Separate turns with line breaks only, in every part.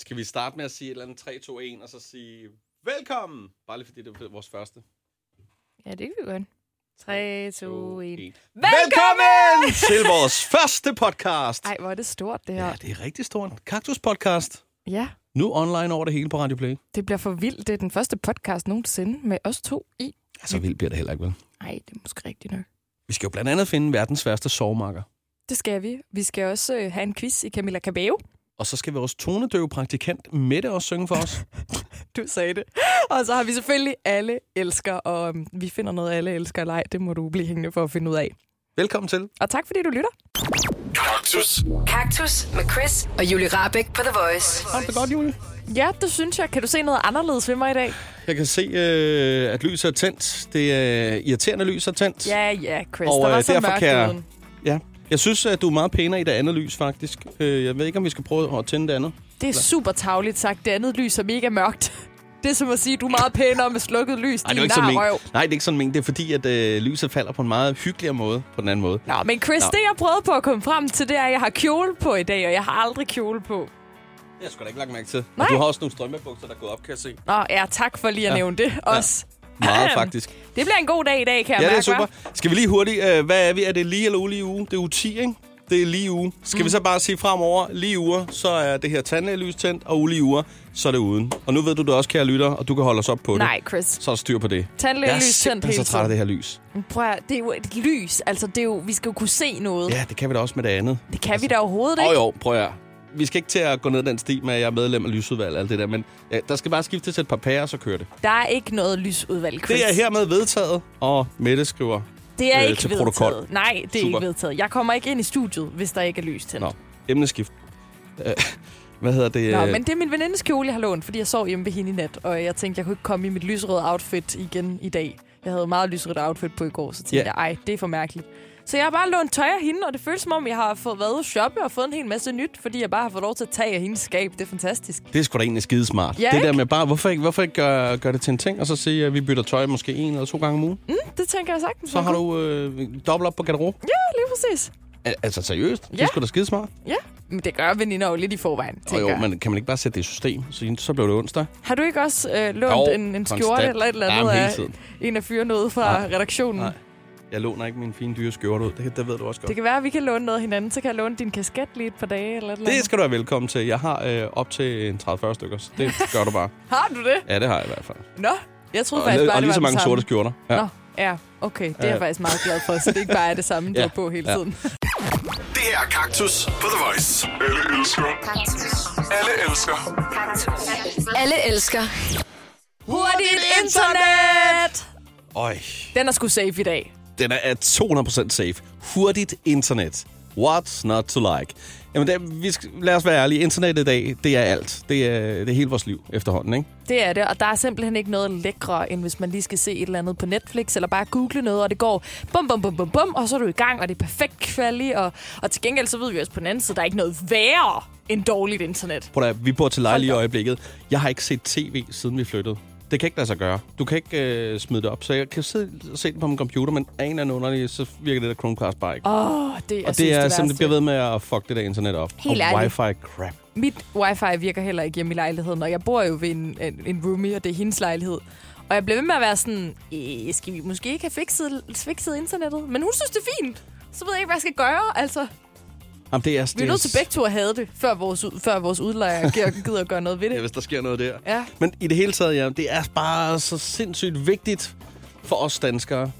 Skal vi starte med at sige et eller andet 3, 2, 1, og så sige velkommen? Bare lige fordi det er vores første.
Ja, det kan vi godt. 3, 2, 1.
Velkommen,
Velkommen!
til vores første podcast.
Ej, hvor er det stort, det her.
Ja, det er rigtig stort. Kaktus podcast.
Ja,
Nu online over det hele på Radio Play.
det bliver for vildt. Det er den første podcast nogensinde med os to i.
Ja, så Altså, vildt bliver det heller ikke, vel?
Ej, det er måske rigtigt nok.
Vi skal jo blandt andet finde verdens værste sovmarker.
Det skal vi. Vi skal også øh, have en quiz i Camilla Cabello.
Og så skal vores tonedøve praktikant Mette også synge for os.
Du sagde det. Og så har vi selvfølgelig alle elsker, og øhm, vi finder noget alle elsker eller ej. Det må du blive hængende for at finde ud af.
Velkommen til.
Og tak fordi du lytter.
Kaktus med Chris og Julie Rabeck på The Voice.
Har du det godt, Julie?
Ja, det synes jeg. Kan du se noget anderledes ved mig i dag?
Jeg kan se, øh, at lyset er tændt. Det er irriterende lys er tændt.
Ja, ja, Chris.
Og,
der var
øh,
så
derfor
mørkt
kan jeg-
uden.
Ja. Jeg synes, at du er meget pænere i det andet lys, faktisk. Øh, Jeg ved ikke, om vi skal prøve at tænde det andet.
Det er super tavligt sagt. Det andet lys er mega mørkt. Det er som at sige, du er meget pænere med slukket lys.
Ej, det er
din
jo ikke sådan,
nar
men...
røv.
Nej, det er ikke sådan men. Det er fordi, at øh, lyset falder på en meget hyggeligere måde, på den anden måde.
Nå, men Chris,
Nå.
Nå. det jeg prøvede på at komme frem til, det er, at jeg har kjole på i dag, og jeg har aldrig kjole på.
Jeg skulle da ikke lagt mærke til.
Nej.
Og du har også nogle strømmebukser, der er gået op, kan jeg se.
Nå, ja, tak for lige at
Ja.
ja. nævne det også.
Meget
Ahem.
faktisk.
Det bliver en god dag i dag, kan jeg
Ja, det
mærke,
er super.
hva'?
Skal vi lige hurtigt, øh, hvad er vi? Er det lige eller ulige uge? Det er uge 10, ikke? Det er lige uge. Skal mm. vi så bare sige fremover, lige uger, så er det her tandlægelys tændt, og ulige uger, så er det uden. Og nu ved du det også, kære lytter, og du kan holde os op på
Nej,
det.
Chris.
Så er der styr på det. jeg er
Tandlægelys tændt
simpelthen
hele
så træt af
tiden.
det her lys.
Prøv at, høre, det er jo et lys. Altså, det er jo, vi skal jo kunne se noget. Ja.
Ja, det kan vi da også med det andet.
Det kan vi da overhovedet
Åh
ikke.
oh, jo, prøv at høre. Vi skal ikke til at gå ned den sti med, at jeg er medlem af lysudvalget og alt det der, men ja, der skal bare skifte til et par pærer, så kører det.
Der er ikke noget lysudvalg, Chris.
Det er hermed vedtaget, og Mette skriver.
det er
øh,
ikke
til
vedtaget.
protokol.
Nej, det er
Super.
super. ikke vedtaget. Jeg kommer ikke ind i studiet, hvis der ikke er lys tændt.
Nå, emneskift. Øh, Hvad hedder det?
Nå,
øh,
men det er min venindes kjole, jeg har lånt, fordi jeg sov hjemme ved hende i nat, og jeg tænkte, jeg kunne ikke komme i mit lyserøde outfit igen i dag. Jeg havde meget lyserødt outfit på i går, så tænkte
Ja.
yeah. jeg, ej, det er for mærkeligt. Så jeg har bare lånt tøj af hende, og det føles som om, jeg har fået været ude at shoppe og fået en hel masse nyt, fordi jeg bare har fået lov til at tage af hendes skab. Det er fantastisk.
Det er sgu da egentlig skide smart.
Ja,
det der
ikke?
med bare, hvorfor ikke, hvorfor ikke gøre, gøre det til en ting, og så sige, at vi bytter tøj måske en eller to gange om ugen? Mm.
Det tænker jeg sagtens.
Så har du øh, dobbelt op på garderobe.
Mhm. Ja, lige præcis.
Al- altså seriøst, det er
Ja.
sgu da skide smart.
Ja, men det gør veninder jo lidt i forvejen,
Og
tænker
jo,
jeg.
men kan man ikke bare sætte det i system? Så, så blev det onsdag.
Har du ikke også øh, lånt
Jo,
en, en
konstant.
skjorte eller et eller andet
Jamen, hele
af
tiden.
en af fyrene ude fra
Nej.
redaktionen?
Nej. Jeg låner ikke min fine dyre skjorte ud. Det, kan- det ved du også godt.
Det
Det,
kan være, at vi kan låne noget af hinanden, så kan jeg låne din kasket lige et par dage eller et eller andet.
det skal du være velkommen til. Jeg har øh, op til en 30-40 stykker, så det gør du bare.
Har du det?
Ja, det har jeg i hvert fald.
Nå, jeg troede
Og,
faktisk
og
bare, det
lige
var
så mange
det
sorte
samme.
skjorter. Ja.
Nå, ja, okay. Det er
Ja.
jeg faktisk meget glad for, så det ikke bare er det samme, du
Ja,
er på hele
ja.
tiden.
Det her er Kaktus på The Voice. Alle elsker. Alle elsker.
Alle elsker
Hurtigt internet!
Øj,
Den er sgu safe i dag.
Den er er 200% safe. Hurtigt internet. What's not to like? Jamen, det, vi skal, lad os være ærlige. Internet i dag, det er alt. Det er, det er hele vores liv efterhånden, ikke?
Det er det, og der er simpelthen ikke noget lækre, end hvis man lige skal se et eller andet på Netflix, eller bare google noget, og det går bum, bum, bum, bum, bum, og så er du i gang, og det er perfekt kvali, og, og til gengæld så ved vi også på den anden side, der er ikke noget værre end dårligt internet.
Prøv at, vi bor til leje lige i
Hold da.
øjeblikket. Jeg har ikke set tv, siden vi flyttede. Det kan ikke lade sig gøre. Du kan ikke øh, smide det op. Så jeg kan sidde og se det på min computer, men af en eller anden underlig, så virker det der Chromecast bare ikke. Og
Åh, det, jeg
det
synes,
er
det
simpelthen, det bliver
værste.
ved med at fuck det der internet op.
Helt
og
ærligt.
wifi crap.
mit wifi virker heller ikke hjemme i lejligheden, og jeg bor jo ved en, en, en roomie, og det er hendes lejlighed. Og jeg blev ved med at være sådan, "Øh, skal vi måske ikke have fikset, fikset internettet? Men hun synes, det er fint. Så ved jeg ikke, hvad jeg skal gøre. Altså,
Jamen, det er, det
vi er nødt til begge to at have det, før vores, ud- før vores udlejer gider- gider at gøre noget ved
Ja,
det.
hvis der sker noget der.
Ja.
Men i det hele taget, ja, det er bare så sindssygt vigtigt for os danskere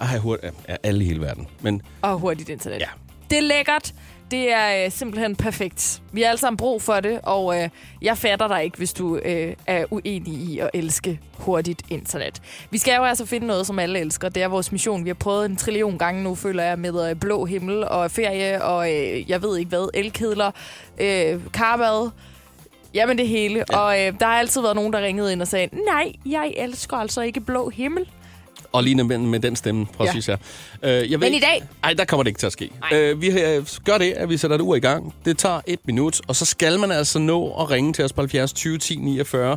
at have hurtigt... Ja, alle i hele verden. Men
Og hurtigt internet.
Ja.
Det er lækkert. Det er øh, simpelthen perfekt. Vi har alle sammen brug for det, og øh, jeg fatter dig ikke, hvis du øh, er uenig i at elske hurtigt internet. Vi skal jo altså finde noget, som alle elsker. Det er vores mission. Vi har prøvet en trillion gange nu, føler jeg, med øh, blå himmel og ferie og øh, jeg ved ikke hvad, elkedler, øh, karbad. Jamen det hele. Ja. Og øh, der har altid været nogen, der ringede ind og sagde, nej, jeg elsker altså ikke blå himmel.
Og lige med, med den stemme, præcis ja. her. Øh, jeg ved
Men i
ikke-
dag?
Ej, der kommer det ikke til at ske.
Nej.
Øh, vi øh, gør det, at vi sætter et ur i gang. Det tager et minut, og så skal man altså nå at ringe til os på 70 20 10 49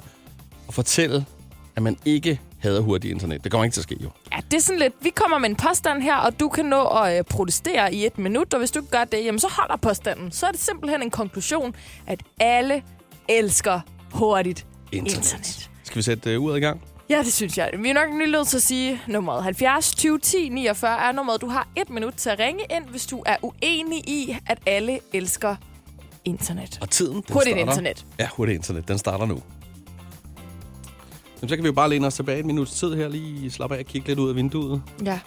og fortælle, at man ikke hader hurtigt internet. Det kommer ikke til at ske, jo.
Ja, det er sådan lidt, vi kommer med en påstand her, og du kan nå at øh, protestere i et minut, og hvis du ikke gør det, jamen så holder påstanden. Så er det simpelthen en konklusion, at alle elsker hurtigt
Internet.
internet.
Skal vi sætte øh, uret i gang?
Ja, det synes jeg. Vi er nok lige nødt til at sige nummeret 70 20 10 49 er nummeret. Du har et minut til at ringe ind, hvis du er uenig i, at alle elsker internet.
Og tiden, den
Hurtigt
starter.
internet.
Ja, hurtigt internet. Den starter nu. Jamen, så kan vi jo bare læne os tilbage et minuts tid her, lige slappe af og kigge lidt ud af vinduet.
Ja.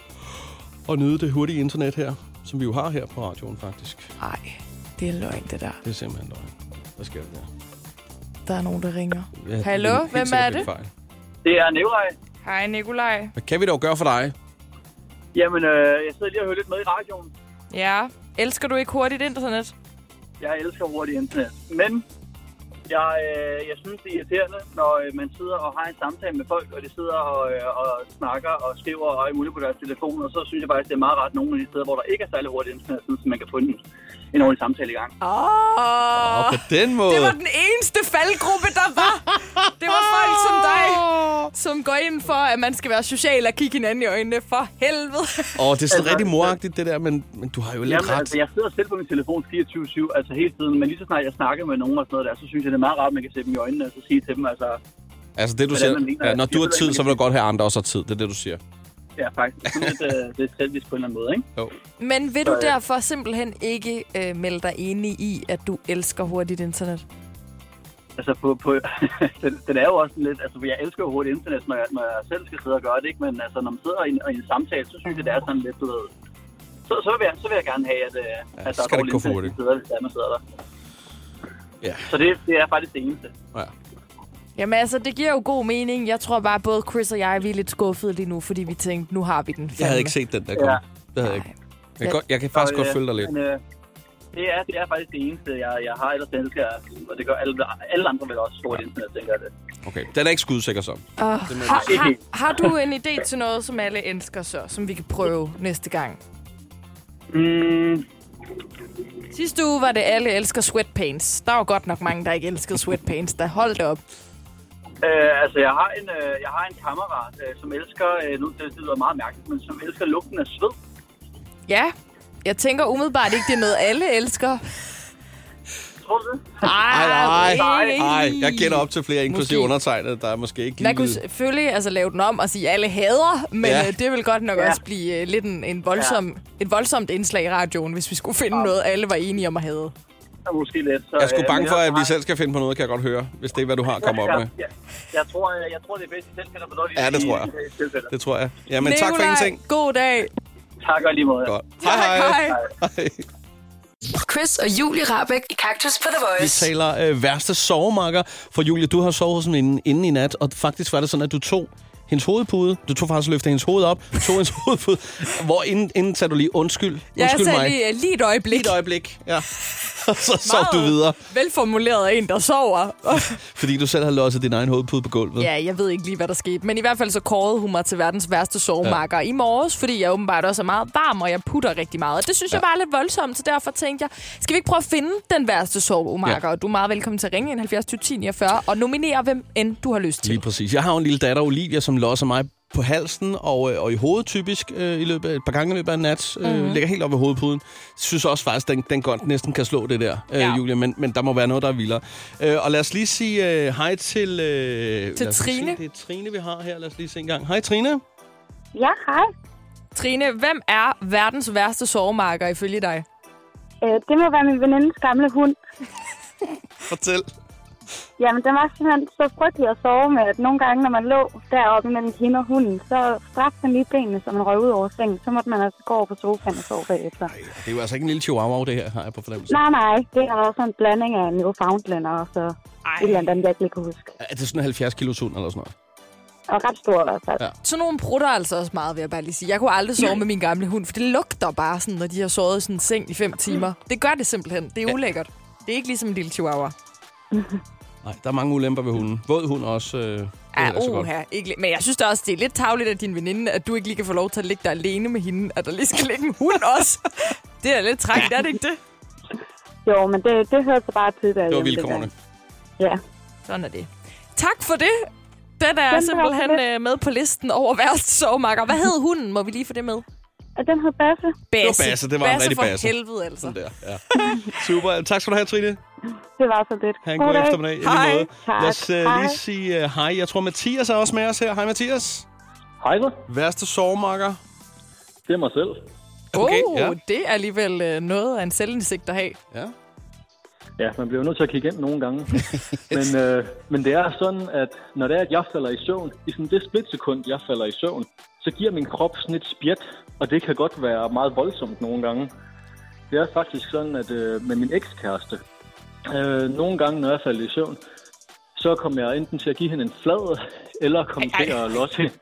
Og nyde det hurtige internet her, som vi jo har her på radioen faktisk.
Ej, det er løgn, det der.
Det er simpelthen løgn. Hvad sker der der?
Der er nogen, der ringer.
Ja, det er
Hallo,
helt
hvem
sikkert
er det?
en Fejl.
Det er Nikolaj.
Hej, Nikolaj.
Hvad kan vi dog gøre for dig?
Jamen, øh, jeg sidder lige og hører lidt med i radioen.
Ja. Elsker du ikke hurtigt internet?
Jeg elsker hurtigt internet. Men jeg, øh, jeg synes, det er irriterende, når øh, man sidder og har en samtale med folk, og de sidder og, øh, og snakker og skriver og er muligt på deres telefon. Og så synes jeg faktisk, det er meget rart nogle af de steder, hvor der ikke er særlig hurtigt internet, sådan, så man kan få en, en ordentlig samtale i gang.
Åh!
Og
Oh.
på den måde...
Det var den eneste faldgruppe, der var. Det var folk som dig, som går ind for, at man skal være social og kigge hinanden i øjnene. For helvede.
Åh, det er sådan
Altså,
rigtig moragtigt, det der, men, men du har jo lidt
Jamen,
ret.
altså, jeg sidder selv på min telefon 24-7, altså hele tiden. Men lige så snart jeg snakker med nogen og sådan noget der, så synes jeg, det er meget rart, at man kan se dem i øjnene og så sige til dem, altså,
Altså det, du
Hvordan man
siger,
mener,
ja,
at
når
det
du har
ved jeg
tid,
ikke,
så vil
men-
du godt have at andre også har tid. Det er det, du siger.
ja, faktisk. Sådan lidt, øh, lidt selvvis på en eller anden måde, ikke?
Jo.
Men vil du
Så, ja.
derfor simpelthen ikke øh, melde dig enig i, at du elsker hurtigt internet?
Altså, på, på, den, den er jo også sådan lidt... Altså, for jeg elsker jo hurtigt internet, når jeg, når jeg selv skal sidde og gøre det, ikke? Men altså, når man sidder i en, i en samtale, så synes jeg, det er sådan lidt, du ved... Så, så, vil, jeg, så vil jeg gerne have, at, øh,
Ja,
at der
så skal
er
det ikke
dårlig
gå for
internet,
hurtigt.
hvis sidder, hvis der er, man sidder der.
Ja.
Så det, det er faktisk det eneste.
Ja.
Jamen altså, det giver jo god mening. Jeg tror bare, både Chris og jeg, vi er lidt skuffede lige nu, fordi vi tænkte, nu har vi den.
Jeg havde
fandme.
ikke set den der komme.
Ja.
Det havde jeg ikke. Jeg kan, godt, jeg kan faktisk
Så,
godt
øh,
følge dig lidt.
Men, øh, det, er, det er faktisk det eneste, jeg, jeg har ellers elsker, jeg, og det gør alle, alle andre vel også stort internet, tænker jeg det.
Okay, den er ikke skudsikker så.
Åh, har,
sige.
har, har du en idé til noget, som alle elsker så, som vi kan prøve næste gang?
Mm,
Sidste uge var det, alle elsker sweatpants. Der var godt nok mange, der ikke elskede sweatpants, der holdt op.
Øh, altså, jeg har en, øh, jeg har en kammerat, øh, som elsker, øh, nu det, det lyder meget mærkeligt, men som elsker lugten af sved.
Ja, jeg tænker umiddelbart ikke, det er noget, alle elsker.
Tror du det?
Ej, nej,
ikke.
nej. Jeg gætter op til flere, inklusive
Måske.
undertegnet, der er måske ikke
Man kunne
lige ved-
selvfølgelig altså, lave den om og sige, at alle hader, men
Ja.
ja. øh, det vil godt nok ja.
Ja.
også blive øh, lidt en, en voldsom, ja. et voldsomt indslag i radioen, hvis vi skulle finde ja. noget, alle var enige om at hade.
Ja, måske lidt. Så,
Jeg er sgu
øh,
bange
men
for, at vi
har-
selv skal finde på noget, kan jeg godt høre. Hvis det er, hvad du har kommet op med.
Jeg, jeg, jeg, tror, jeg, jeg tror, det er bedst, at I selv finder på noget. I-
Ja, det
i-
tror jeg.
i- i tilfælde.
Det tror jeg. Jamen, tak for
Nikolaj,
ingenting.
god dag.
Tak og i lige måde.
Godt.
Tak,
Hej, hej.
hej.
hej.
Chris og Julie Rabeck i Kaktus på The
Vi
Voice.
taler øh, værste sovemarker. For Julia, du har sovet hos en inden, inden i nat, og faktisk var det sådan, at du tog hendes hovedpude. Du tog faktisk løftede hendes hoved op, tog hendes hovedpude. Hvor inden, inden sagde du lige, undskyld, undskyld
Jeg sagde
mig.
lige, øh, lige et øjeblik.
Lige et øjeblik, ja. Og så sov du videre,
Velformuleret af en, der sover.
fordi du selv havde losset din egen hovedpude på gulvet.
ja, jeg ved ikke lige, hvad der skete. Men i hvert fald så kårede hun mig til verdens værste sovemarker ja. i morges, fordi jeg åbenbart også er meget varm, og jeg putter rigtig meget. Og det synes ja. jeg bare er lidt voldsomt, så derfor tænkte jeg, skal vi ikke prøve at finde den værste sovemarker?
Ja.
Ja. Og du er meget velkommen til at ringe ind 70 20 10 49 og nominere, hvem end du har lyst til.
Lige præcis. Jeg har jo en lille datter, Olivia, som losser mig på halsen og, øh, og i hovedet typisk øh, i løbet af et par gange i løbet af en nat. Øh, mm-hmm. Ligger helt op ved hovedpuden. Synes også faktisk, den, den godt næsten kan slå det der, øh, ja.
Ja.
Julia, men, men der må være noget, der er vildere. Øh, og lad os lige sige øh, hej til... Øh, lad os
Trine.
Se, det er Trine, vi har her. Lad os lige se en gang. Hej, Trine.
Ja, hej.
Trine, hvem er verdens værste sovemarker ifølge dig?
Øh, det må være min venindes gamle hund.
Fortæl.
Jamen, den var simpelthen så frygtelig at sove med, at nogle gange, når man lå deroppe mellem hende og hunden, så strakte den lige benene, så man røg ud over sengen. Så måtte man altså gå over på sofaen og sove bagefter.
Ej, det er jo altså ikke en lille chihuahua, det her, har jeg på fornemmelse.
Nej, nej. Det er også en blanding af Newfoundlander og så Ej. et eller andet, jeg ikke lige kan huske.
Er det sådan en 70 kilos hund eller sådan noget?
Og ret stor i hvert fald.
Ja.
Ja.
Sådan nogle prutter altså også meget, vil jeg bare lige sige. Jeg kunne aldrig sove med min gamle hund, for det lugter bare sådan, når de har sovet i sådan en seng i fem timer. Det gør det simpelthen. Det er ulækkert. Det er ikke ligesom en lille chihuahua.
Nej, der er mange ulemper ved hunden. Våd hund også. Øh, det er
Ja,
heller ikke så godt.
oha, Ah, ikke, li- men jeg synes da også, det er lidt tavligt af din veninde, at du ikke lige kan få lov til at ligge der alene med hende, at der lige skal ligge en hund også. Det er lidt trækt, er det ikke det?
Jo, men det, det hørte så bare til
Det var vilkårene.
Ja.
Sådan er det. Tak for det. Den er
var
simpelthen
så lidt.
øh, med på listen over værste sovemakker. Hvad hed hunden? Må vi lige få det med?
Og den hed Basse.
Basse.
Basse, det var en rigtig
for
Basse.
helvede altså.
Sådan der, ja. Super. Tak skal du have, Trine.
Det var så lidt.
Ha' en god
dag.
eftermiddag. i lige
Hej.
måde.
Tak.
Lad os uh,
Hej.
lige sige uh, hej. Jeg tror, Mathias er også med os her. Hej, Mathias.
Hej så.
Værste sovemarker.
Det er mig selv.
Mm, Okay,
oh,
ja.
det er alligevel øh, noget af en selvindsigt at have.
Ja.
Ja, man bliver jo nødt til at kigge ind nogle gange. men, øh, men det er sådan, at når det er, at jeg falder i søvn, i sådan det splitsekund, jeg falder i søvn, så giver min krop sådan et spjæt, og det kan godt være meget voldsomt nogle gange. Det er faktisk sådan, at øh, med min ekskæreste, øh, nogle gange, når jeg falder i søvn, så kom jeg enten til at give hende en flad, eller kom
Ej, ej.
til at losse hende,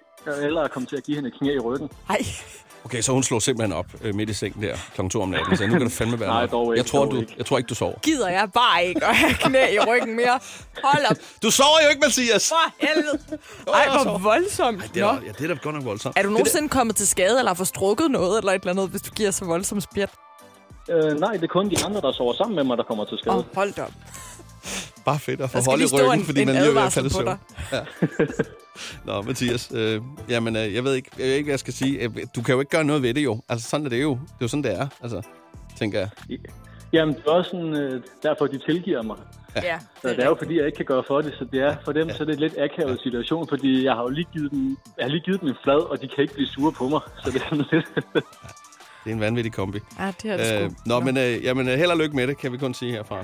eller kom til at give hende et knæ i ryggen.
Ej,
Okay, så hun slår simpelthen op øh, midt i sengen der kl. 2 om natten. Så nu kan det fandme være
Nej,
nok.
dog ikke,
jeg, tror,
dog
du,
ikke.
jeg tror ikke, du sover.
gider jeg bare ikke at have knæ i ryggen mere. Hold op,
Du sover jo ikke, Mathias!
for helvede. Ej, hvor voldsomt.
Det er,
Nå.
da- ja, det er da godt nok voldsomt.
Er du nogensinde kommet til skade, eller har forstrukket noget, eller et eller andet, hvis du giver så voldsomt spjæt?
Øh, nej, det er kun de andre, der sover sammen med mig, der kommer til skade.
Åh, oh, hold da op.
Bare fedt at
Der skal
forholde
lige stå
ryggen,
en,
fordi
en
man lige er ved at
advarsel
falde i
på
søvn.
dig.
Nå, Mathias, øh, jamen, øh, jeg, ved ikke, jeg ved ikke, hvad jeg skal sige. Øh, Du kan jo ikke gøre noget ved det, jo. Altså, sådan er det jo. Det er jo sådan, det er, altså, tænker jeg.
Jamen, det er også sådan, øh, derfor, de tilgiver mig.
Ja.
Så det er jo fordi, jeg ikke kan gøre for det, så det er for dem så er det en lidt akavet situation, fordi jeg har jo lige givet dem, jeg har lige givet dem en flad, og de kan ikke blive sure på mig. Så det er sådan lidt...
Det er en vanvittig kombi.
Ja, det er det sgu.
Øh, nå, men øh, jamen, øh, held og lykke med det, kan vi kun sige herfra.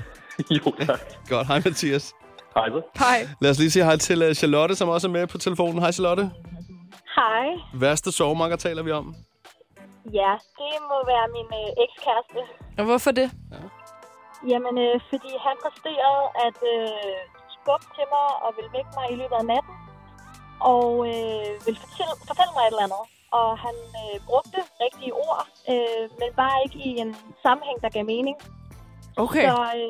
jo, tak.
Godt, hej Mathias.
Hej, så.
Hej.
Lad os lige sige hej til øh, Charlotte, som også er med på telefonen. Hej Charlotte.
Hej.
Værste sovemarker taler vi om.
Ja, det må være min øh, ekskæreste.
Og hvorfor det?
Jamen, øh, fordi han præsterede at øh, skubbe til mig og ville vække mig i løbet af natten. Og øh, ville fortælle, fortælle mig et eller andet. Og han øh, brugte rigtige ord, øh, men bare ikke i en sammenhæng, der gav mening.
Okay.
Så øh,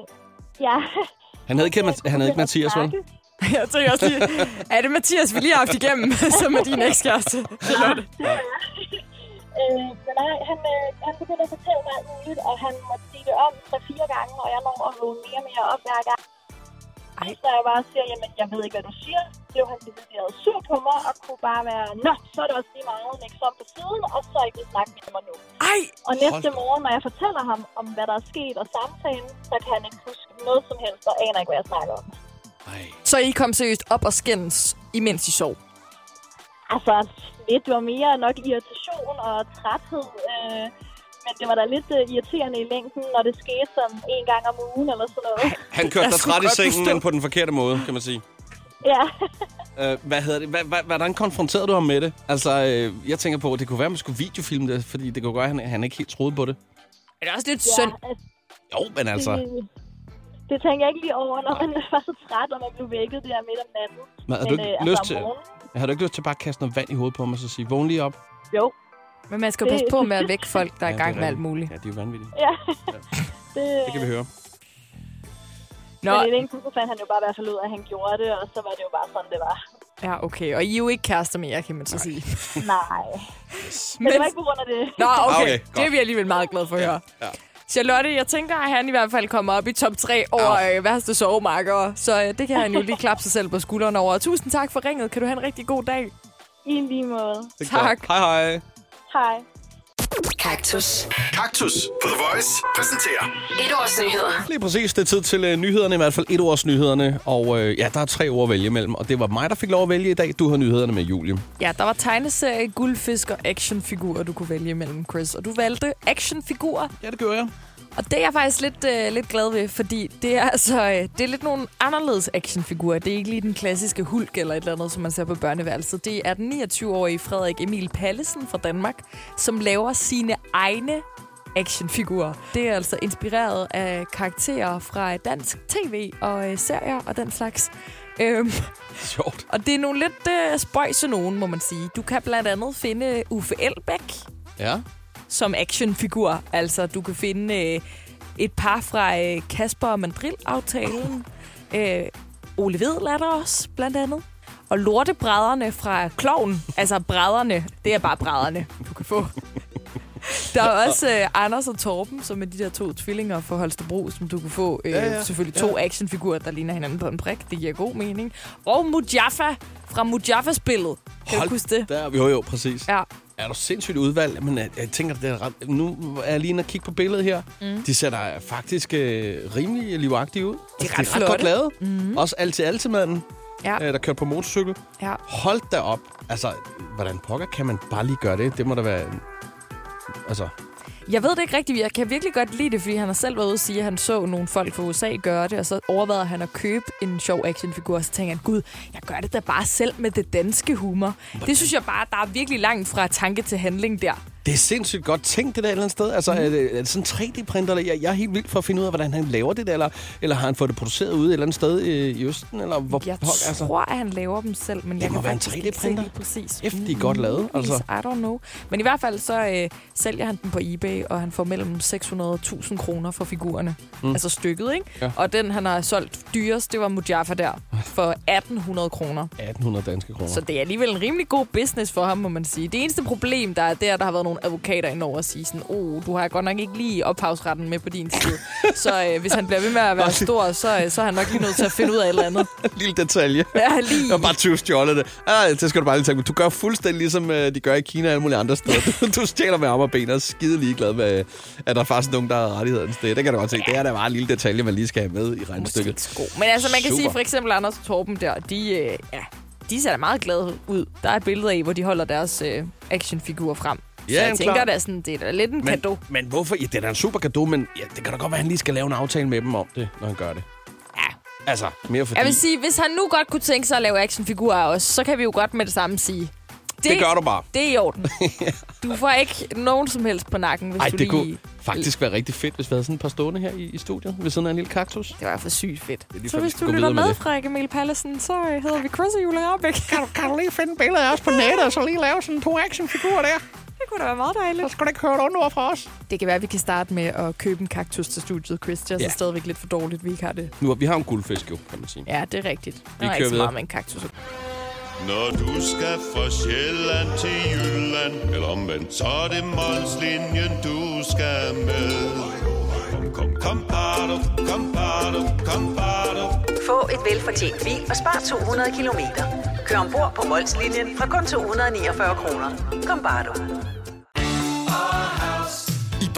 ja.
Han hed ikke,
Så jeg
Mat- han hed ikke
begyndte at
Mathias, vel?
snakke.
Jeg tænker også lige, er det Mathias, vi lige har haft igennem, som er din ekskæreste? Charlotte?
Øh, men nej, han, øh, han begyndte at fortælle mig alt muligt, og han måtte sige det om 3-4 gange, og jeg når at vågne mere og mere op hver gang.
Ej.
Så jeg bare siger, jamen, jeg ved ikke, hvad du siger. Blev han decideret sur på mig, og kunne bare være, nå, så er det også lige meget, lægge så om på siden, og så er jeg ikke snakke med mig nu.
Ej,
Og næste
da op.
morgen, når jeg fortæller ham om, hvad der er sket og samtalen, så kan han ikke huske noget som helst, og aner ikke, hvad jeg snakker om.
Nej.
så I kom seriøst op og skændes, imens I sov?
Altså, lidt var mere nok irritation og træthed. Øh, men det var da lidt øh, irriterende i længden, når det skete sådan en gang om ugen eller sådan noget.
Han kørte
Jeg
dig
skulle
træt i
godt
sengen,
forstå.
men på den forkerte måde, kan man sige.
Ja.
Øh, hvad hedder det? Hva- hva- hvordan konfronterede du ham med det? Altså, øh, jeg tænker på, at det kunne være, at man skulle videofilme det, fordi det kunne gøre, at han, han ikke helt troede på det.
Er det også lidt synd?
ja altså,
Jo, men altså...
det, det tænker jeg ikke lige over, når man var så træt, og man blev vækket der midt om natten.
Men, øh, har, du ikke
altså,
lyst
om
til,
morgenen,
har du ikke lyst til bare at kaste noget vand i hovedet på mig og så sige, vågn lige op?
Jo.
Men man skal jo passe
Det-
på med at vække folk, der er i
Ja, det
gang
er
med alt
rigtigt.
muligt.
Ja, det er jo vanvittigt.
Ja. Det,
Det kan vi høre.
Nå,
Men i længden så fandt han jo bare i hvert fald ud af, at han gjorde det, og så var det jo bare sådan, det var.
ja, okay. Og I er jo ikke kærester mere, kan man så sige.
Nej. Men det
Men,
var ikke på grund af det.
nå, okay.
Ah, Okay,
Det er vi alligevel meget glade for at høre.
ja.
Charlotte, jeg tænker, at han i hvert fald kommer op i top 3 over øh, værste sovemarker, så øh, det kan han jo lige klappe sig selv på skulderen over. Tusind tak for ringet. Kan du have en rigtig god dag?
I lige måde.
Det er
Tak.
godt. Hej hej.
Hej.
Kaktus.
Kaktus på The Voice præsenterer
Et års nyheder.
Lige præcis, det er tid til øh, nyhederne, i hvert fald et års nyhederne. Og øh, ja, der er tre ord at vælge imellem, og det var mig, der fik lov at vælge i dag. Du har nyhederne med, Julie.
Ja, der var tegneserie, guldfisk og actionfigurer, du kunne vælge mellem, Chris. Og du valgte actionfigurer,
Ja, det gør jeg.
og det er jeg faktisk lidt, øh, lidt glad ved, fordi det er, altså, øh, det er lidt nogle anderledes actionfigurer. Det er ikke lige den klassiske hulk eller et eller andet, som man ser på børneværelset. Det er den 29-årige Frederik Emil Pallesen fra Danmark, som laver sine egne actionfigurer. Det er altså inspireret af karakterer fra dansk tv og øh, serier og den slags. Øhm,
Sjovt.
og det er nogle lidt øh, spøjse nogen, må man sige. Du kan blandt andet finde Uffe Elbæk
Ja.
som actionfigur. Altså, du kan finde øh, et par fra øh, Kasper og Mandrill-aftalen. Øh, Ole Vedel er der også, blandt andet. Og lortebrædderne fra Kloven. Altså, brædderne, det er bare brædderne, du kan få. Der er også øh, Anders og Torben, som er de der to tvillinger fra Holstebro, som du kan få øh, ja,
Ja,
ja,
ja,
selvfølgelig to actionfigurer, der ligner hinanden på en prik. Det giver god mening. Og Mujaffa fra Mujaffa-spillet. Kan du huske det?
Der, jo, jo, præcis.
Ja.
er der sindssygt udvalg, men jeg, jeg tænker, det er ret, nu er jeg lige inde og kigge på billedet her. Mm. De ser der faktisk øh, rimelig livagtige ud. De
ret
de er ret godt
flotte.
lavet. Mm. Også alt til alt manden,
Ja.
øh, der kørte på motorcykel.
Ja.
Hold da op. Altså, hvordan pokker kan man bare lige gøre det? Det må da være... en- Altså,
Jeg ved det ikke rigtigt. Jeg kan virkelig godt lide det, fordi han har selv været ude og sige, at han så nogle folk fra USA gøre det, og så overvejede han at købe en sjov actionfigur, og så tænker han, gud, jeg gør det da bare selv med det danske humor. Det synes jeg bare, der er virkelig langt fra tanke til handling der.
det er sindssygt godt tænkt, det der et eller andet sted. Altså, mm.
Mhm.
er, det, er det sådan 3D-printer? Jeg, jeg er helt vild for at finde ud af, hvordan han laver det der, eller, eller har han fået det produceret ude et eller andet sted øh, i Østen? Eller hvor
Jeg
pokker, altså?
tror, at han laver dem selv, men jeg
må
kan
være en
faktisk ikke se
3D-printer.
lige præcis.
F, de er godt lavet, altså.
Altså. I don't know. Men i hvert fald så øh, sælger han dem på eBay, og han får mellem 600.000 kroner for figurerne. Mm. Altså stykket, ikke?
Ja.
Og den, han har solgt dyrest, det var Mujaffa der, for 1.800 kroner.
1800 danske kroner.
Så det er alligevel en rimelig god business for ham, må man sige. Det eneste problem, der er der, der har været nogle advokater indover og sige sådan, oh, du har godt nok ikke lige ophavsretten med på din side. så øh, hvis han bliver ved med at være stor, så, øh, så er han nok lige nødt til at finde ud af et eller andet.
Lille detalje.
Ja, lige.
Jeg har bare tyvstjålet det. Ah, det skal du bare lige tænke på. Du gør fuldstændig ligesom øh, de gør i Kina og alle mulige andre steder. Du stjæler med arme og ben og er skide ligeglad med, øh, at der er faktisk nogen, der har rettighederne sted. Det kan du godt se. Det er da bare en lille detalje, man lige skal have med i
Måske ikke
regnstykket.
så god. Men altså, man kan
Super.
sige for eksempel Anders og Torben der, de, øh, ja, de ser da meget glade ud. Der er et billede af, hvor de holder deres øh, actionfigurer frem.
Ja,
så jeg
jamen,
tænker,
klart.
det er, sådan, det er da lidt en men...
Men,
kado.
men hvorfor? Ja, det er da en super gave, men ja, det kan da godt være, at han lige skal lave en aftale med dem om det, når han gør det.
Ja.
Altså, mere fordi...
Jeg vil sige, hvis han nu godt kunne tænke sig at lave actionfigurer af os, så kan vi jo godt med det samme sige...
Det gør du bare.
Det er i orden. Du får ikke nogen som helst på nakken, hvis
Ej,
du
det kunne
lige...
faktisk være rigtig fedt, hvis vi havde sådan et par stående her i, i studiet ved siden af en lille kaktus.
Det var for sygt fedt.
lige
Så
før, vi
hvis
skal
du
gå
lytter
videre med
med,
det.
Frederik Emil Pallesen, så øh, hedder vi Chris og Julie Rabeck.
Kan du lige finde billeder af os på nettet, og så lige lave sådan to actionfigurer der?
Det kunne da være meget dejligt.
Så skal du ikke høre et ondt ord fra os.
Det kan være, at vi kan starte med at købe en kaktus til studiet, Chris. Det er
Ja.
ja. så stadigvæk lidt for dårligt, vi ikke har det.
Nu har vi har en guldfisk jo, kan man sige.
Ja, det er rigtigt.
Vi
Der
kører
er ikke så
videre.
meget med en kaktus.
Når du skal fra Sjælland til Jylland Eller omvendt Så er det Molslinjen du skal med Kom, kom, kom, bado, kom, bado, kom, bado.
Få et velfortjent bil og spar 200 kilometer. Kør ombord på Molslinjen fra kun 249 kroner. Kom bare du.
I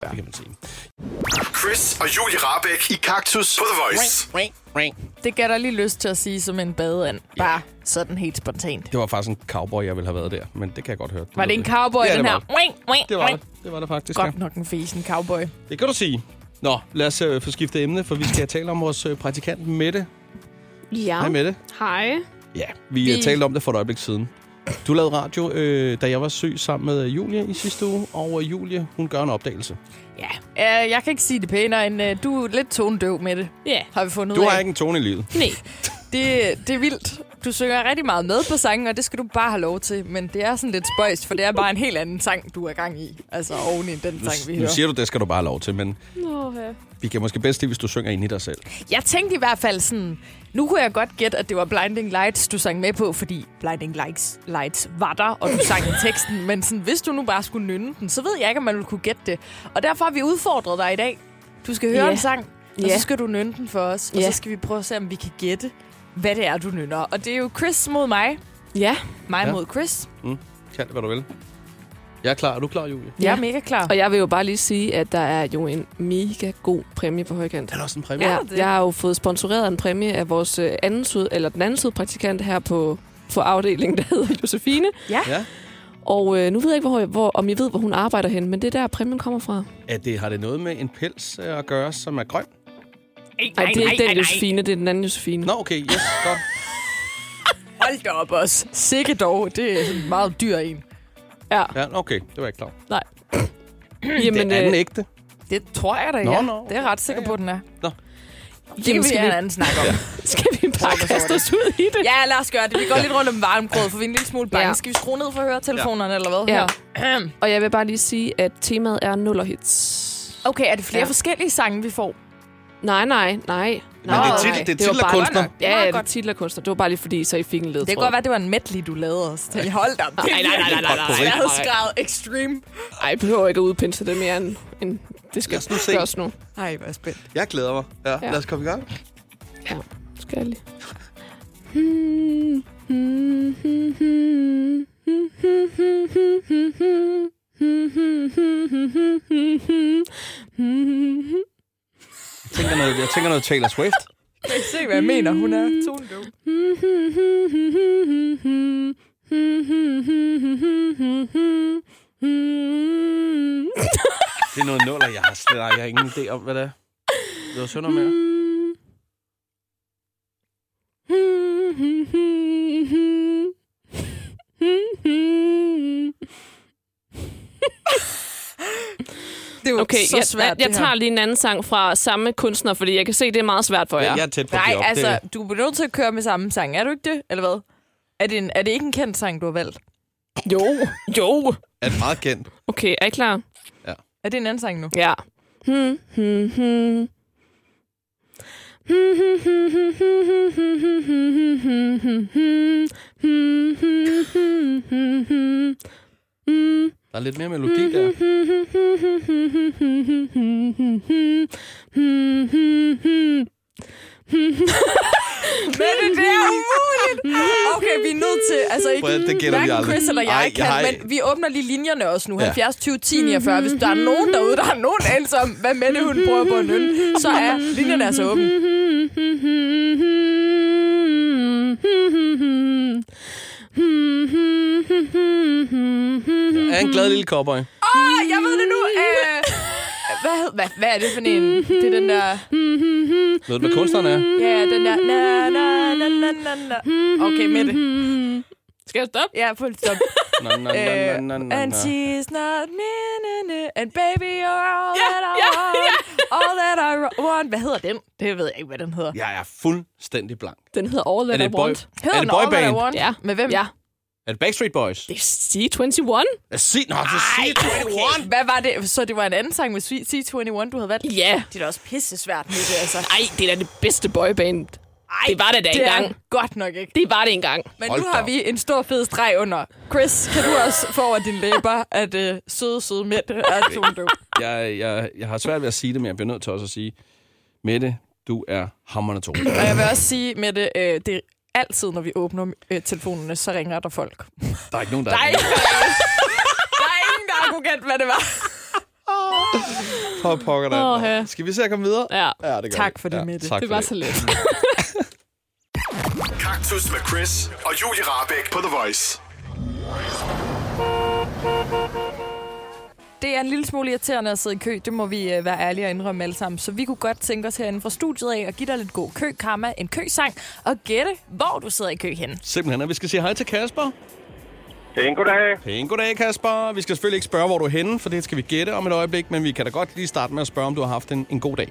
Det kan man sige.
Chris og Julie Rabeck i Kaktus på The Voice.
Ring, ring.
Det gav dig lige lyst til at sige som en badeand. Bare sådan helt spontant.
Det var faktisk en cowboy, jeg ville have været der, men det kan jeg godt høre.
Var det en cowboy,
ja,
den
det
her?
var det. Det var det. Det var det faktisk, ja.
Godt nok en fesen cowboy.
Det kan du sige. Nå, lad os øh, få skiftet emne, for vi skal tale om vores øh, praktikant Mette.
Ja.
Hej Mette.
Hej.
Ja, vi, vi...
Vi-
talte om det for et øjeblik siden. Du lavede radio, øh, da jeg var syg sammen med øh, Julie i sidste uge, og øh, Julie, hun gør en opdagelse.
Ja. Uh, jeg kan ikke sige det pænere, end uh, du er lidt tonedøv med det,
Ja.
har vi fundet
Du
ud af.
har ikke en tone i livet.
Nej.
Det, det er vildt. Du synger rigtig meget med på sangen, og det skal du bare have lov til. Men det er sådan lidt spøjst, for det er bare en helt anden sang, du er gang i. Altså oven i den sang, vi
Nu
hører.
siger du, det skal du bare have lov til, men
Nå, ja.
vi kan måske bedst lide, hvis du synger ind i dig selv.
Jeg tænkte i hvert fald sådan... Nu kunne jeg godt gætte, at det var Blinding Lights, du sang med på, fordi Blinding Lights, Lights var der, og du sang teksten. Men sådan, hvis du nu bare skulle nynne den, så ved jeg ikke, om man ville kunne gætte det. Og derfor har vi udfordret dig i dag. Du skal høre
Ja.
en sang, og
Ja.
så skal du nynne den for os. Og
Ja.
så skal vi prøve at se, om vi kan gætte, hvad det er, du nynner. Og det er jo Chris mod mig.
Ja,
Mig
Ja.
mod Chris.
Kan det, hvad du vil. Jeg er klar. Er du klar, Julie?
Jeg
Ja.
er mega klar.
og jeg vil jo bare lige sige, at der er jo en mega god præmie på højkant.
Er der også en præmie?
Ja,
det?
jeg har jo fået sponsoreret en præmie af vores øh, anden syd, eller den anden syd praktikant her på, på afdelingen, der hedder Josefine.
ja.
Og øh, nu ved jeg ikke, hvor, hvor, om I ved, hvor hun arbejder hen, men det er der, præmien kommer fra.
At det, har det noget med en pels øh, at gøre, som er grøn?
Nej, det er
nej,
ikke
nej,
den
nej.
Josefine, det er den anden Josefine.
Nå, okay, yes, godt.
Hold da op også. Sikke dog. Det er sådan en meget dyr en. Ja.
Ja, okay, det var jeg ikke klar over.
Nej.
Jamen, det er den ægte.
Det tror jeg da,
Nå,
ja.
nå,
Det er jeg ret sikker på, den er.
Nå.
Det kan vi have en anden snak om.
Skal vi bare kaste os ud i det?
Ja, lad os gøre det. Vi går lidt rundt om varmbrød, for vi er en lille smule bange. Ja. Skal vi skrue ned for høretelefonerne, ja. eller hvad?
Ja.
Her.
Og jeg vil bare lige sige, at temaet er nullerhits.
Okay, er det flere ja. forskellige sange, vi får?
Nej, nej, nej.
Men det er titel- det er titlerkunstner.
Ja,
Meget
ja, det er
godt.
titlerkunstner. Det var bare lige fordi, så I fik en led.
Det kan godt være, det var en medley, du lavede os. Jeg holdt op.
Nej, nej, nej, nej, nej, nej.
Jeg havde skrevet extreme.
Ej, jeg behøver ikke at udpinse det mere, end, end det skal
nu se.
gøres nu.
Nej, hvor er spændt.
Jeg glæder mig. Ja,
Ja.
lad os komme i gang.
Ja, skal jeg lige. Hmm, hmm, hmm, hmm, hmm, hmm, hmm, hmm, hmm, hmm, hmm, hmm, hmm, hmm, hmm, hmm, hmm.
Jeg tænker noget, jeg tænker noget Taylor Swift.
Kan I se, hvad jeg mener? Hun er tonedøv.
Det er noget nuller, jeg har slet jeg har ingen idé om, hvad det er. Det var synd om jer.
Det er jo
Okay,
så
jeg,
svært,
jeg, jeg
det
tager
her.
lige en anden sang fra samme kunstner, fordi jeg kan se, det er meget svært for jer.
Nej, altså, du er nødt til at køre med samme sang. Er du ikke det, eller hvad? Er det, en, er det ikke en kendt sang, du har valgt?
Jo, jo.
Er det meget kendt?
Okay, er I klar?
Er det en anden sang nu?
Ja. Hmm, hmm, hmm. Hmm, hmm, hmm, hmm, hmm, hmm, hmm, hmm, hmm, hmm, hmm. Hmm, hmm, hmm, hmm, hmm. Hmm.
Der er lidt mere melodi der.
Men det er umuligt! Okay, vi er nødt til... Altså, ikke,
Prøv at- det gætter vi
hverken
aldrig.
Chris eller jeg
Ej,
kan,
jeg har-
men vi åbner lige linjerne også nu.
Ja.
70, 20, 10, 49. Hvis der er nogen derude, der har nogen anelse om, hvad Mette hun prøver på at nynne, så er linjerne altså åbne.
Mm.
Jeg er en glad lille cowboy.
Åh, oh, jeg ved det nu! Øh, hvad, hed- hvad, hvad er det for
Mhm.
en? Det er den der...
Ved du, hvad kunstneren er?
Ja, den der... Na, na, na, na, na, na. Okay, Mette.
Mhm. Skal jeg stoppe?
Ja, fuld stop. Øh,
Nå, nå, nå, nå, nå, nå, nå.
And she's not me, na, na, and baby, you're all
Ja,
that I
ja,
want.
ja.
All that I ro- want. Hvad hedder den? Det ved jeg ikke, hvad den hedder.
Jeg er fuldstændig blank.
Den hedder All
Er
That
det
I
et boy- er
Want.
det
Hedder
et
den All That I
boyband?
Want? Ja.
Med hvem?
Ja.
Er det Backstreet Boys?
Det er C21.
Er C- Nå, det er C21.
Okay. Hvad var det? Så det var en anden sang med C- C21, du havde valgt?
Ja.
Det er da også pisse svært, Mikkel, altså.
Ej, det er da det bedste boyband. Ej, det var det da
det er
engang.
godt nok ikke.
Det var det engang.
Men Hold nu har vi en stor fed streg under. Chris, kan du også få over din læber, at øh, søde, søde Mette er tondøv?
Jeg, jeg, jeg har svært ved at sige det, men jeg bliver nødt til også at sige, Mette, du er hammerne to.
Og jeg vil også sige, Mette, øh, det er altid, når vi åbner øh, telefonerne, så ringer der folk.
Der er ikke nogen, der
Der er
er
ingen, der, der, er ingen, der kunne gætte, hvad det var.
på pokker
Åh,
der.
ja.
Skal vi se at komme videre?
Ja.
Ja, det gør
Tak
vi.
for det,
ja,
Mette.
tak
Det
for
var så let.
Kaktus med Chris og Julie Rabeck på The Voice.
Det er en lille smule irriterende at sidde i kø, det må vi øh, være ærlige og indrømme alle sammen. Så vi kunne godt tænke os herinde fra studiet af at give dig lidt god kø, karma, en køsang, og gætte, hvor du sidder i kø henne.
Simpelthen, og vi skal sige hej til Kasper.
Pæn goddag.
Pæn goddag, Kasper. Vi skal selvfølgelig ikke spørge, hvor du er henne, for det skal vi gætte om et øjeblik, men vi kan da godt lige starte med at spørge, om du har haft en, en god dag.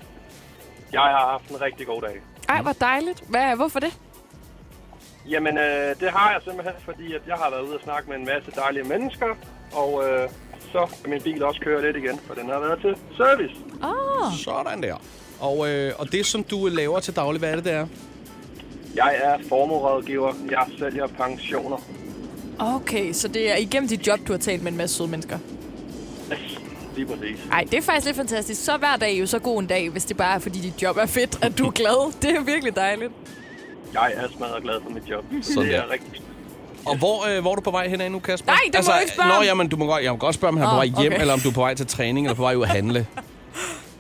Jeg har haft en rigtig god dag.
Ej, hvor dejligt. Hvad, hvorfor det?
Jamen, øh, det har jeg simpelthen, fordi at jeg har været ude og snakke med en masse dejlige mennesker, og øh, så kan min bil også køre lidt igen, for den har været til service.
Ah,
Sådan der. Og, øh, og det, som du laver til daglig, hvad er det, det er?
Jeg er formuerådgiver. Jeg sælger pensioner.
okay, så det er igennem dit job, du har talt med en masse søde mennesker.
Lige præcis.
Nej, det er faktisk lidt fantastisk. Så hver dag er jo så god en dag, hvis det bare er, fordi dit job er fedt, at du er glad. Det er virkelig dejligt.
Jeg er smadret glad for mit job.
Sådan
det er
der.
rigtig
Og hvor, øh, hvor er du på vej hen af nu, Kasper? Altså,
Nej, det må du ikke spørge
Nå,
om.
jamen, du må godt, jeg må godt spørge, om han er
Åh,
på vej hjem,
okay.
eller om du er på vej til træning, eller på vej ud at handle.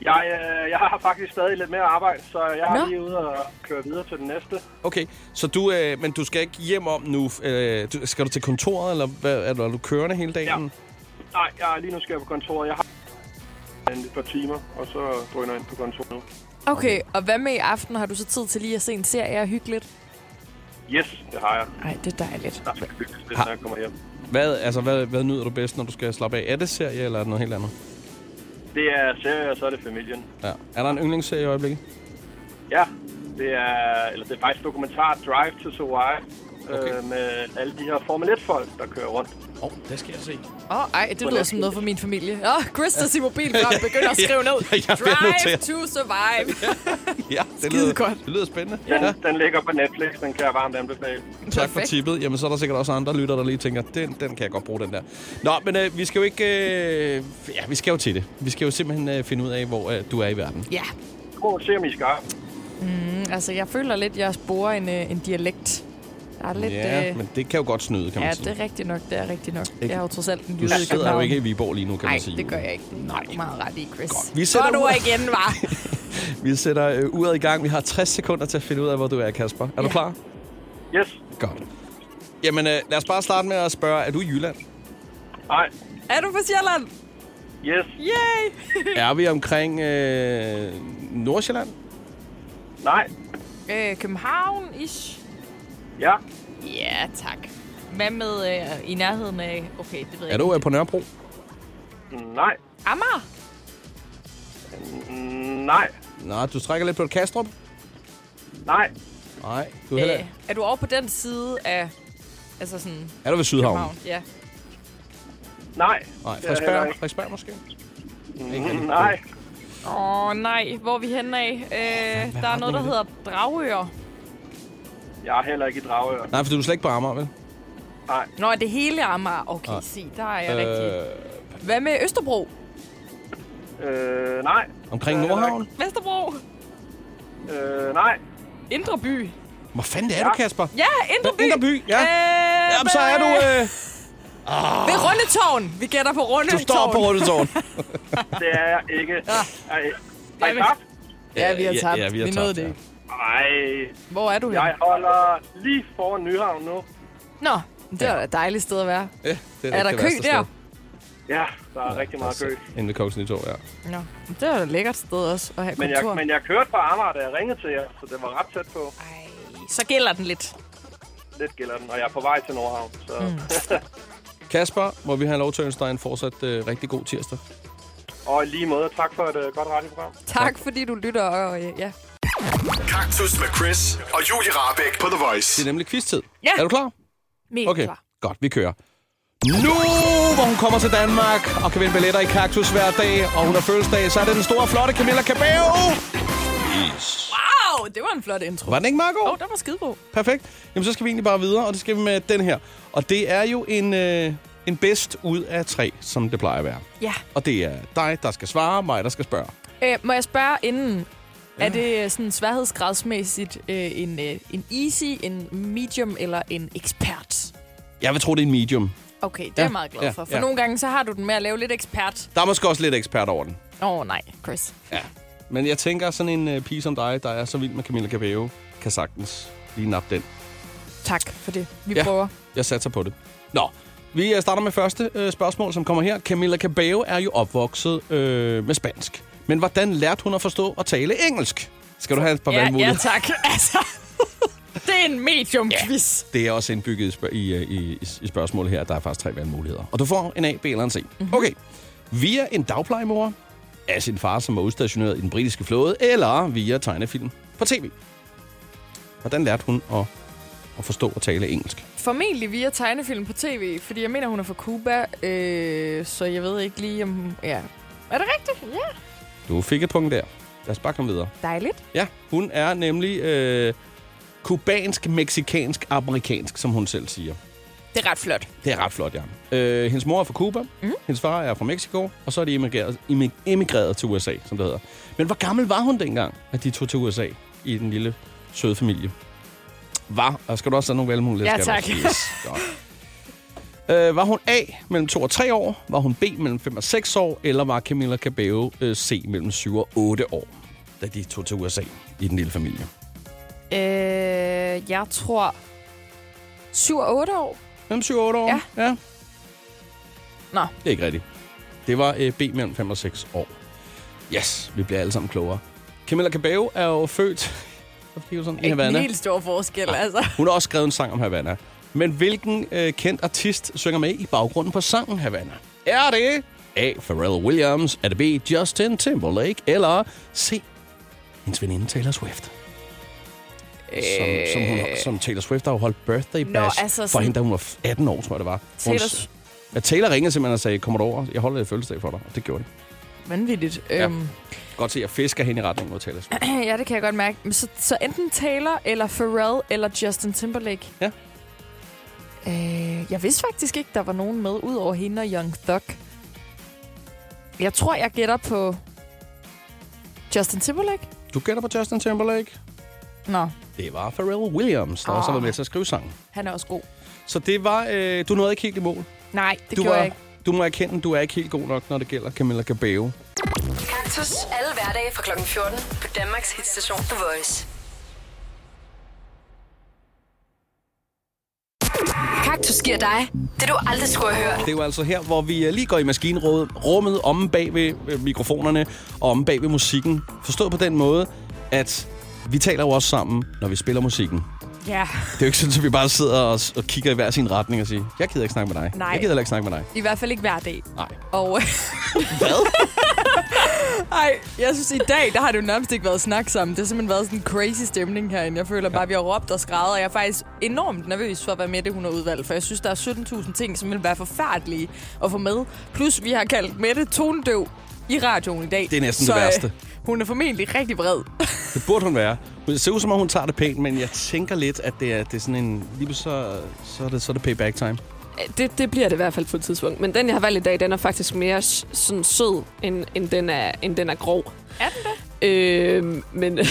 Jeg, øh, jeg har faktisk stadig lidt mere arbejde, så jeg er lige ude og køre videre til den næste.
Okay, så du, øh, men du skal ikke hjem om nu. Øh, du, skal du til kontoret, eller hvad, er, du, er du kørende hele dagen?
Nej, jeg er lige nu skal jeg på kontoret. Jeg har en et par timer, og så drøner jeg ind på kontoret nu.
Okay, og hvad med i aften? Har du så tid til lige at se en serie og hygge lidt?
Yes, det har jeg.
Nej, det er dejligt.
Der skal hygges lidt, når jeg kommer hjem.
Hvad, altså, hvad, hvad nyder du bedst, når du skal slappe af? Er det serie, eller er det noget helt andet?
Det er serie, og så er det familien.
Ja. Er der en yndlingsserie i øjeblikket?
Ja, det er, eller det er faktisk dokumentar Drive to Survive. Okay. Øh, med alle de her Formel 1-folk, der kører rundt.
Åh, oh, det skal jeg se.
Åh, oh, ej, det lyder som noget for min familie. Åh, oh, Chris, der sin mobil frem, begynder at skrive ned.
Ja, jeg bliver nødt til
Drive
at-
to survive.
Ja, det lyder, godt. det lyder spændende.
Den, ja. den ligger på Netflix, den kan jeg varmt anbefale.
Tak for tippet. Jamen, så er der sikkert også andre lytter, der lige tænker, den, den kan jeg godt bruge, den der. Nå, men øh, vi skal jo ikke... Øh, ja, vi skal jo til det. Vi skal jo simpelthen øh, finde ud af, hvor øh, du er i verden.
Ja.
Prøv at se, om I skal.
Mm, altså, jeg føler lidt, jeg sporer en, øh, en dialekt. Der er lidt...
ja,
øh,
men det kan jo godt snyde, kan man
ja,
sige.
det er rigtigt nok, det er rigtigt nok.
Ikke?
Jeg har jo trods alt en
Du
jyde i
sidder jo
København.
ikke i Viborg lige nu, kan
Nej,
man sige.
det gør jeg ikke. Nej. Meget ret i, Chris. Godt.
Vi sætter
Godt
ud-
ord igen, var.
Vi sætter øh, uret i gang. Vi har 60 sekunder til at finde ud af, hvor du er, Kasper. Er du klar?
Yes.
Godt. Jamen, øh, lad os bare starte med at spørge, er du i Jylland?
Nej.
Er du fra Sjælland?
Yes.
Yay!
er vi omkring øh, Nordsjælland?
Nej.
Øh, København-ish?
Ja.
Ja, tak. Hvad med øh, i nærheden af... Okay, det ved jeg
Er du
ikke.
øh, på Nørrebro?
Nej.
Amager?
Nej.
Nej, du strækker lidt på et Kastrup?
Nej.
Nej, du er heller
Øh, er du over på den side af... Altså sådan...
Er du ved Sydhavnen?
København? Ja.
Nej.
Nej,
det er jeg heller
Frederiksberg,
ikke.
Frederiksberg måske?
Mm, nej.
Åh, oh, nej. Hvor er vi henne af? Øh, der er noget, der
retning
hedder Dragør.
Jeg er heller ikke i Dragør.
Nej, for du er slet ikke på Amager, vel?
Nej.
Nå, er det hele Amager? Okay,
Nej.
se, der er jeg øh... rigtig. Hvad med Østerbro?
Øh, nej.
Omkring Nordhavn?
Vesterbro?
Øh, nej.
Indre by?
Hvor fanden det er du, Kasper?
Ja, Indre by.
Indre by, ja.
Øh,
Jamen, så er du... Øh...
Oh. Ved Rundetårn. Vi gætter på Rundetårn.
Du står på Rundetårn.
Det er jeg ikke. Ja. Ej, har I
Jamen.
tabt?
Ja, vi har
Ja,
tabt.
ja, vi har
vi nåede
tabt,
det
ja.
ikke.
Ej.
Hvor er du
Jeg holder lige foran Nyhavn nu.
Nå, men det var da et dejligt sted at være.
Ja,
er, er der kø der?
Ja, der er rigtig meget kø.
Inden ved Kogs Nytorv, ja.
Nå, men det var da et lækkert sted også at have
Men
kontor.
jeg, men jeg kørte fra Amager, da jeg ringede til jer, så det var ret tæt på.
Så gælder den lidt.
Lidt gælder den, og jeg er på vej til Nordhavn. Så.
Kasper, må vi have lov til at ønske dig en fortsat øh, rigtig god tirsdag.
og i lige måde, tak for et uh, godt radioprogram.
Tak, fordi du lytter. Og, øh, ja.
Kaktus med Chris og Julie Rabeck på The Voice.
Det er nemlig quiz-tid.
Ja.
Er du klar?
Mega
Okay,
klar.
godt, vi kører. Nu, hvor hun kommer til Danmark og kan vinde billetter i Kaktus hver dag, og hun har fødselsdag, så er det den store, flotte Camilla Cabello.
Wow, det var en flot intro.
Var den ikke meget god?
Åh, oh, den var skidegod.
Perfekt. Jamen, så skal vi egentlig bare videre, og det skal vi med den her. Og det er jo en, øh, en bedst ud af tre, som det plejer at være.
Ja.
Og det er dig, der skal svare, mig, der skal spørge.
Øh, må jeg spørge inden? Ja. Er det øh, sådan sværhedsgradsmæssigt øh, en, øh, en easy, en medium eller en expert?
Jeg vil tro, det er en medium.
Okay, det er
Ja,
jeg meget glad
ja,
for. For
ja.
nogle gange, så har du den med at lave lidt ekspert.
Der er måske også lidt ekspert over den.
Åh oh, nej, Chris.
Ja. Men jeg tænker, sådan en øh, pige som dig, der er så vild med Camilla Cabello, kan sagtens lige nappe den.
Tak for det. Vi ja. prøver.
Jeg satser på det. Nå, vi øh, starter med første øh, spørgsmål, som kommer her. Camilla Cabello er jo opvokset øh, med spansk. Men hvordan lærte hun at forstå og tale engelsk? Skal du have et par
ja,
valgmuligheder?
ja, tak. Altså, det er en medium-quiz.
Det er også indbygget i, spørg- i, øh, i, i- i spørgsmålet her, at der er faktisk tre valgmuligheder. Og du får en A, B eller en C. Mm-hmm. Okay. Via en dagplejemor, af sin far, som var udstationeret i den britiske flåde, eller via tegnefilm på tv. Hvordan lærte hun at, at forstå og tale engelsk?
Formentlig via tegnefilm på tv, fordi jeg mener, hun er fra Cuba, øh, så jeg ved ikke lige, om... Ja. Er det rigtigt? Ja.
Du fik et punkt der. Lad os bare komme videre.
Dejligt.
Ja, hun er nemlig øh, kubansk, meksikansk, amerikansk, som hun selv siger.
Det er ret flot. Mhm.
Det er ret flot, ja. Øh, hendes mor er fra Cuba, mm. hendes far er fra Mexico, og så er de emigreret, imi- emigreret til USA, som det hedder. Men hvor gammel var hun dengang, at de tog til USA i den lille søde familie? Var, og skal du også have nogle valgmuligheder?
Ja,
skal du
tak.
også? Yes. Godt. Øh, var hun A mellem 2 og 3 år? Var hun B mellem 5 og 6 år? Eller var Camilla Cabello øh, C mellem 7 og 8 år, da de tog til USA i den lille familie?
Øh, jeg tror 7 og 8 år.
Mellem 7 og 8 år? Ja. ja.
Nå,
Det er ikke rigtigt. Det var øh, B mellem 5 og 6 år. Yes, vi bliver alle sammen klogere. Camilla Cabello er jo født det er jo sådan, i
ikke en
Havana.
helt stor forskel, altså.
Hun har også skrevet en sang om Havana. Men hvilken øh, kendt artist synger med i baggrunden på sangen Havana? Er det A. Pharrell Williams, er det B. Justin Timberlake, eller C. Hendes veninde Taylor Swift? Som,
Øh,
som, hun, som Taylor Swift har jo holdt birthday
Nå,
bash
altså
altså, for
sådan-
hende, da hun var 18 år, tror jeg det var. Hun,
Taylor
s-
Sw-
ja, Taylor ringede simpelthen og sagde, kommer du over? Jeg holder et fødselsdag for dig. Og det gjorde de.
Vanvittigt. Ja. Øhm,
Godt se, jeg fisker hende i retning mod Taylor Swift.
ja, det kan jeg godt mærke. Men Så, så enten Taylor, eller Pharrell, eller Justin Timberlake.
Ja.
Øh, jeg vidste faktisk ikke, der var nogen med, ud over hende og Young Thug. Jeg tror, jeg gætter på Justin Timberlake.
Du gætter på Justin Timberlake?
Nå,
Det var Pharrell Williams, der oh. også har
Ah.
været med til at skrive sangen.
han er også god.
Så det var... Øh, du nåede ikke helt i mål.
Nej, det
du
gjorde
var,
jeg ikke.
Du må erkende, du er ikke helt god nok, når det gælder Camilla Cabello.
Kaktus. Alle hverdage fra kl. 14 på Danmarks hitstation The Voice. Kaktus giver dig det, du aldrig skulle have hørt.
Det er jo altså her, hvor vi øh, lige går i maskinrummet om bag ved øh, mikrofonerne og om bag ved musikken. Forstået på den måde, at vi taler jo også sammen, når vi spiller musikken.
Ja.
Det er jo ikke sådan, at vi bare sidder og, og kigger i hver sin retning og siger, jeg gider ikke snakke med dig.
Nej.
Jeg gider heller ikke snakke med dig.
I hvert fald ikke hver dag.
Nej.
Og...
Hvad?
Ej, jeg synes, i dag, der har det jo nærmest ikke været snak sammen. Det har simpelthen været sådan en crazy stemning herinde. Jeg føler bare, at vi har råbt og skrædder, og jeg er faktisk enormt nervøs for, hvad Mette hun har udvalgt. For jeg synes, der er 17.000 ting, som vil være forfærdelige at få med. Plus, vi har kaldt Mette tondøv i radioen i dag.
Det er næsten
så,
det
øh,
værste.
Hun er formentlig rigtig vred.
Det burde hun være. Det ser ud som om, hun tager det pænt, men jeg tænker lidt, at det er, det er sådan en... Lige så, så, er det, så er det payback time.
Det, det bliver det i hvert fald på et tidspunkt. Men den, jeg har valgt i dag, den er faktisk mere s- sådan sød, end, end, den, er, end den er grov.
Er den
det? Øh, men,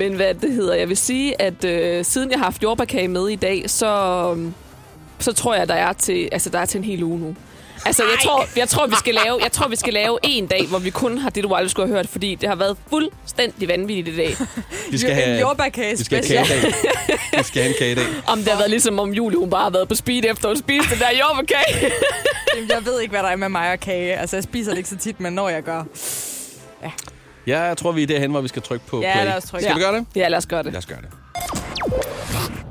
men hvad det hedder, jeg vil sige, at øh, siden jeg har haft jordbærkage med i dag, så, øhm, så tror jeg, der er til, altså, der er til en hel uge nu. Altså, jeg tror, jeg, tror, vi skal lave, jeg tror, vi skal lave en dag, hvor vi kun har det, du aldrig skulle have hørt, fordi det har været fuldstændig vanvittigt i dag.
Vi skal have-
jordbærkage
vi skal have special. kagedag. Vi skal have en kage i dag.
Om det har været ligesom, om Julie hun bare har været på speed efter at spise den der jordbærkage.
Jamen, jeg ved ikke, hvad der er med mig og kage. Altså, jeg spiser det ikke så tit, men når jeg gør...
Ja, jeg tror, vi er derhen, hvor vi skal trykke på
Ja,
play.
lad os trykke.
Skal vi
Ja.
gøre det?
Ja, lad os gøre det.
Lad os gøre det.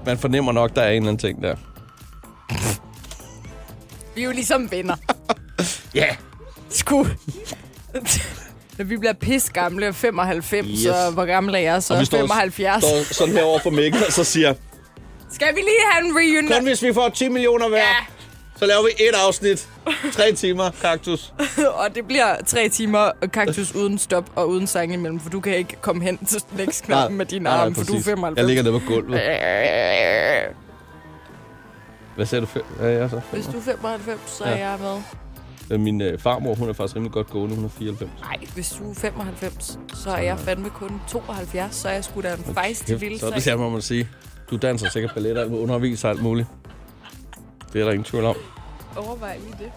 Man fornemmer nok, der er en eller anden ting der.
Vi er jo ligesom venner.
Ja. Yeah.
Sku. Når vi bliver pis gamle, 95, yes.
Yes.
så hvor gammel er jeg så?
Og vi står,
75.
står sådan her over for Mikkel, og så siger,
Skal vi lige have en reunion?
kun hvis vi får 10 millioner hver, ja. så laver vi et afsnit. Tre timer, kaktus.
og det bliver tre timer kaktus uden stop og uden sang imellem, for du kan ikke komme hen til
Nej,
lægsknappen med dine
nej, nej,
arme, for du er
præcis.
95.
Jeg ligger nede på gulvet. Hvad sagde du før? Ja, jeg er så.
Hvis du er 95, så er
Ja.
ja. jeg med.
Øh, Min øh, farmor, hun er faktisk rimelig godt gående. Hun er 94.
Nej, hvis du er 95, så er jeg fandme kun 72, så er jeg sgu da en fejst
Kæft,
til vildt.
Så er det samme, må man sige. Du danser sikkert ballet og alt muligt, underviser og alt muligt. Det er der ingen tvivl om.
Overvej lige det.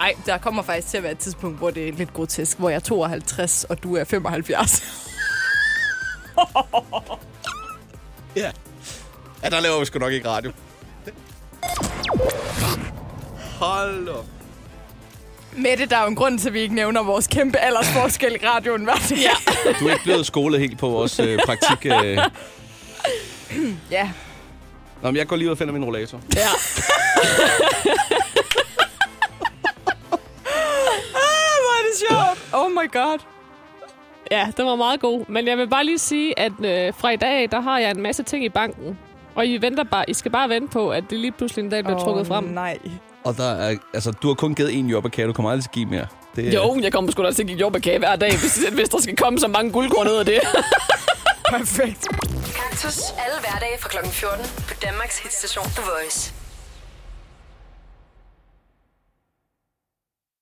Ej, der kommer faktisk til at være et tidspunkt, hvor det er lidt grotesk, hvor jeg er 52, og du er 75.
Ja. Ja, der laver vi sgu nok ikke radio. Hold op.
Mette, der er jo en grund til, at vi ikke nævner vores kæmpe aldersforskel i radioen hver dag. Ja.
Du er ikke blevet skolet helt på vores øh, praktik. Øh.
ja.
Nå, men jeg går lige ud og finder min rollator.
Ja.
ah, hvor er det sjovt.
Oh my god.
Ja, den var meget god. Men jeg vil bare lige sige, at øh, fra i dag af, der har jeg en masse ting i banken. Og I, venter bare, I skal bare vente på, at det lige pludselig en dag bliver
Åh,
oh, trukket frem.
nej.
Og der er, altså, du har kun givet én job du kommer aldrig til at give mere. Det,
Jo, jeg kommer sgu da til at give jordbærkage hver dag, hvis, hvis der skal komme så mange guldkorn ud af det.
Perfekt.
Kaktus. Alle hverdage fra kl. 14 på Danmarks hitstation The Voice.